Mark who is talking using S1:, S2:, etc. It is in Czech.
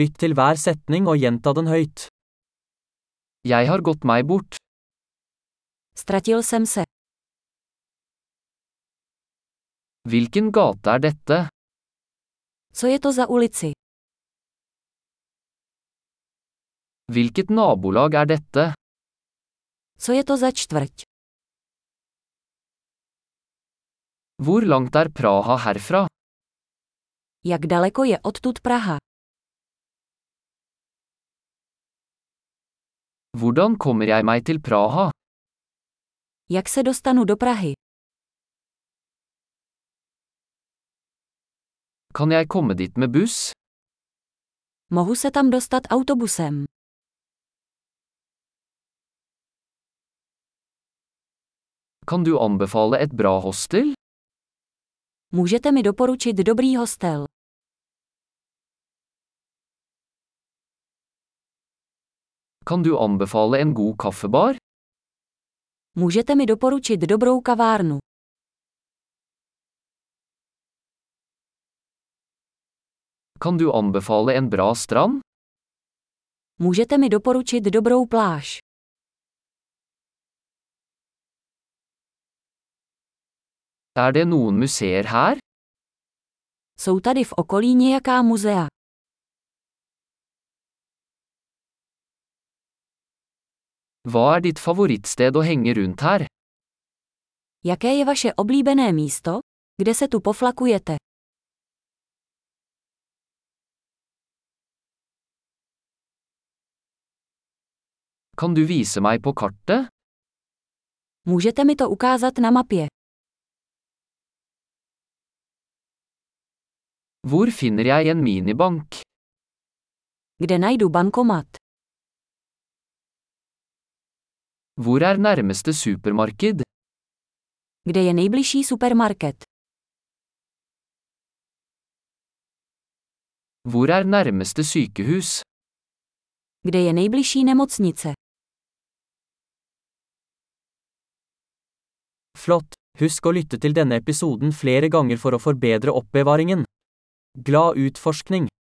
S1: Lytt til hver setning og gjenta den høyt. Jeg har gått meg bort.
S2: Ztratil jsem se.
S1: Hvilken gate er dette?
S2: Co je to za ulici?
S1: Hvilket nabolag er dette?
S2: Co je to za čtvrť?
S1: Hvor langt er Praha herfra?
S2: Jak daleko je odtud Praha?
S1: Hvordan kommer jeg meg til Praha?
S2: Jak se dostanu do Prahy?
S1: Kan jeg komme dit med buss?
S2: Mohu se tam dostat autobusem.
S1: Kan du anbefale et bra hostel?
S2: Můžete mi doporučit dobrý hostel.
S1: Kan du anbefale en god kaffebar?
S2: Můžete mi doporučit dobrou kavárnu.
S1: Kan du anbefale en bra strand?
S2: Můžete mi doporučit dobrou pláž.
S1: Er det noen museer her?
S2: Jsou tady v okolí nějaká muzea.
S1: Hva er ditt favorittsted å henge rundt her?
S2: Jaké je vaše oblíbené místo, kde se tu poflakujete?
S1: Kan du vise meg på kartet?
S2: Můžete mi to ukázat na mapě.
S1: Hvor finner jeg en minibank?
S2: Kde najdu bankomat?
S1: Hvor er nærmeste supermarked?
S2: Kde je nejbližší supermarket?
S1: Hvor er nærmeste sykehus?
S2: Kde je nejbližší nemocnice?
S1: Flott! Husk å lytte til denne episoden flere ganger for å forbedre oppbevaringen. Glad utforskning!